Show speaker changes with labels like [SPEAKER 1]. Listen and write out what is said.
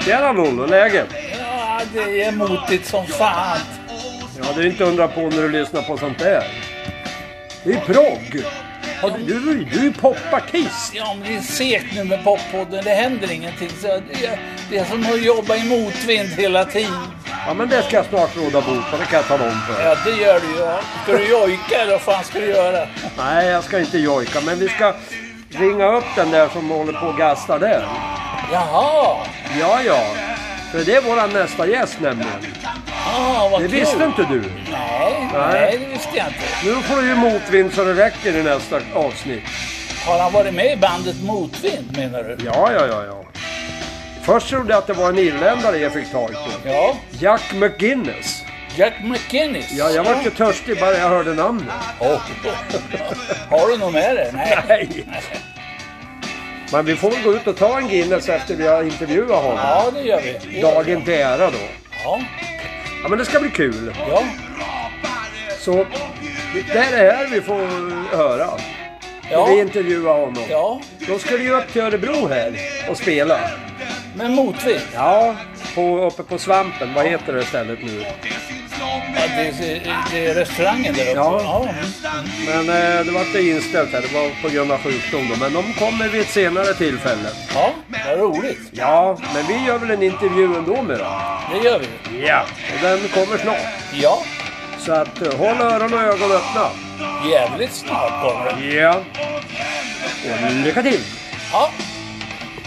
[SPEAKER 1] Tjena Lollo, läget?
[SPEAKER 2] Ja, det är motigt som fan.
[SPEAKER 1] Ja, det är inte undra på när du lyssnar på sånt där. Det är progg! Har du, du, du är poppartist!
[SPEAKER 2] Ja, men det är segt nu med poppodden. Det händer ingenting. Så det, är, det är som att jobba i motvind hela tiden.
[SPEAKER 1] Ja, men det ska jag snart råda bot på, det kan jag tala om för dig.
[SPEAKER 2] Ja, det gör du ju. Ska du jojka eller vad fan ska du göra?
[SPEAKER 1] Nej, jag ska inte jojka, men vi ska ringa upp den där som håller på och gastar där.
[SPEAKER 2] Jaha!
[SPEAKER 1] Ja, ja. För det är våran nästa gäst nämligen.
[SPEAKER 2] Ah, vad
[SPEAKER 1] Det
[SPEAKER 2] kul.
[SPEAKER 1] visste inte du.
[SPEAKER 2] Nej, nej, det visste jag inte.
[SPEAKER 1] Nu får du ju motvind så det räcker i nästa avsnitt.
[SPEAKER 2] Har han varit med i bandet Motvind menar du?
[SPEAKER 1] Ja, ja, ja, ja. Först trodde jag att det var en irländare jag fick tag på.
[SPEAKER 2] Ja,
[SPEAKER 1] Jack McGuinness.
[SPEAKER 2] Jack McGinnis.
[SPEAKER 1] Ja, jag var ju törstig bara jag hörde namnet.
[SPEAKER 2] Åh. Har du något med dig? Nej.
[SPEAKER 1] Nej. Men vi får väl gå ut och ta en Guinness efter vi har intervjuat honom.
[SPEAKER 2] Ja, det gör vi. Det gör vi.
[SPEAKER 1] Dagen till ära då.
[SPEAKER 2] Ja,
[SPEAKER 1] Ja, men det ska bli kul.
[SPEAKER 2] ja.
[SPEAKER 1] Så det är det här vi får höra. När vi
[SPEAKER 2] ja.
[SPEAKER 1] intervjuar honom.
[SPEAKER 2] ja.
[SPEAKER 1] Då ska du ju upp till Örebro här och spela.
[SPEAKER 2] Men motvind.
[SPEAKER 1] Ja, på, uppe på Svampen. Vad heter det stället nu?
[SPEAKER 2] Ja, det, det, det är restaurangen där uppe.
[SPEAKER 1] Ja.
[SPEAKER 2] mm.
[SPEAKER 1] Men eh, det var inte inställt här. Det var på grund av sjukdom då. Men de kommer vid ett senare tillfälle.
[SPEAKER 2] ja. Vad roligt.
[SPEAKER 1] Ja, men vi gör väl en intervju ändå med dem.
[SPEAKER 2] Det gör vi.
[SPEAKER 1] Ja, och den kommer snart.
[SPEAKER 2] Ja,
[SPEAKER 1] Så att eh, håll öron och ögon öppna.
[SPEAKER 2] jävligt snart kommer det.
[SPEAKER 1] Ja. Och lycka till!
[SPEAKER 2] Ja.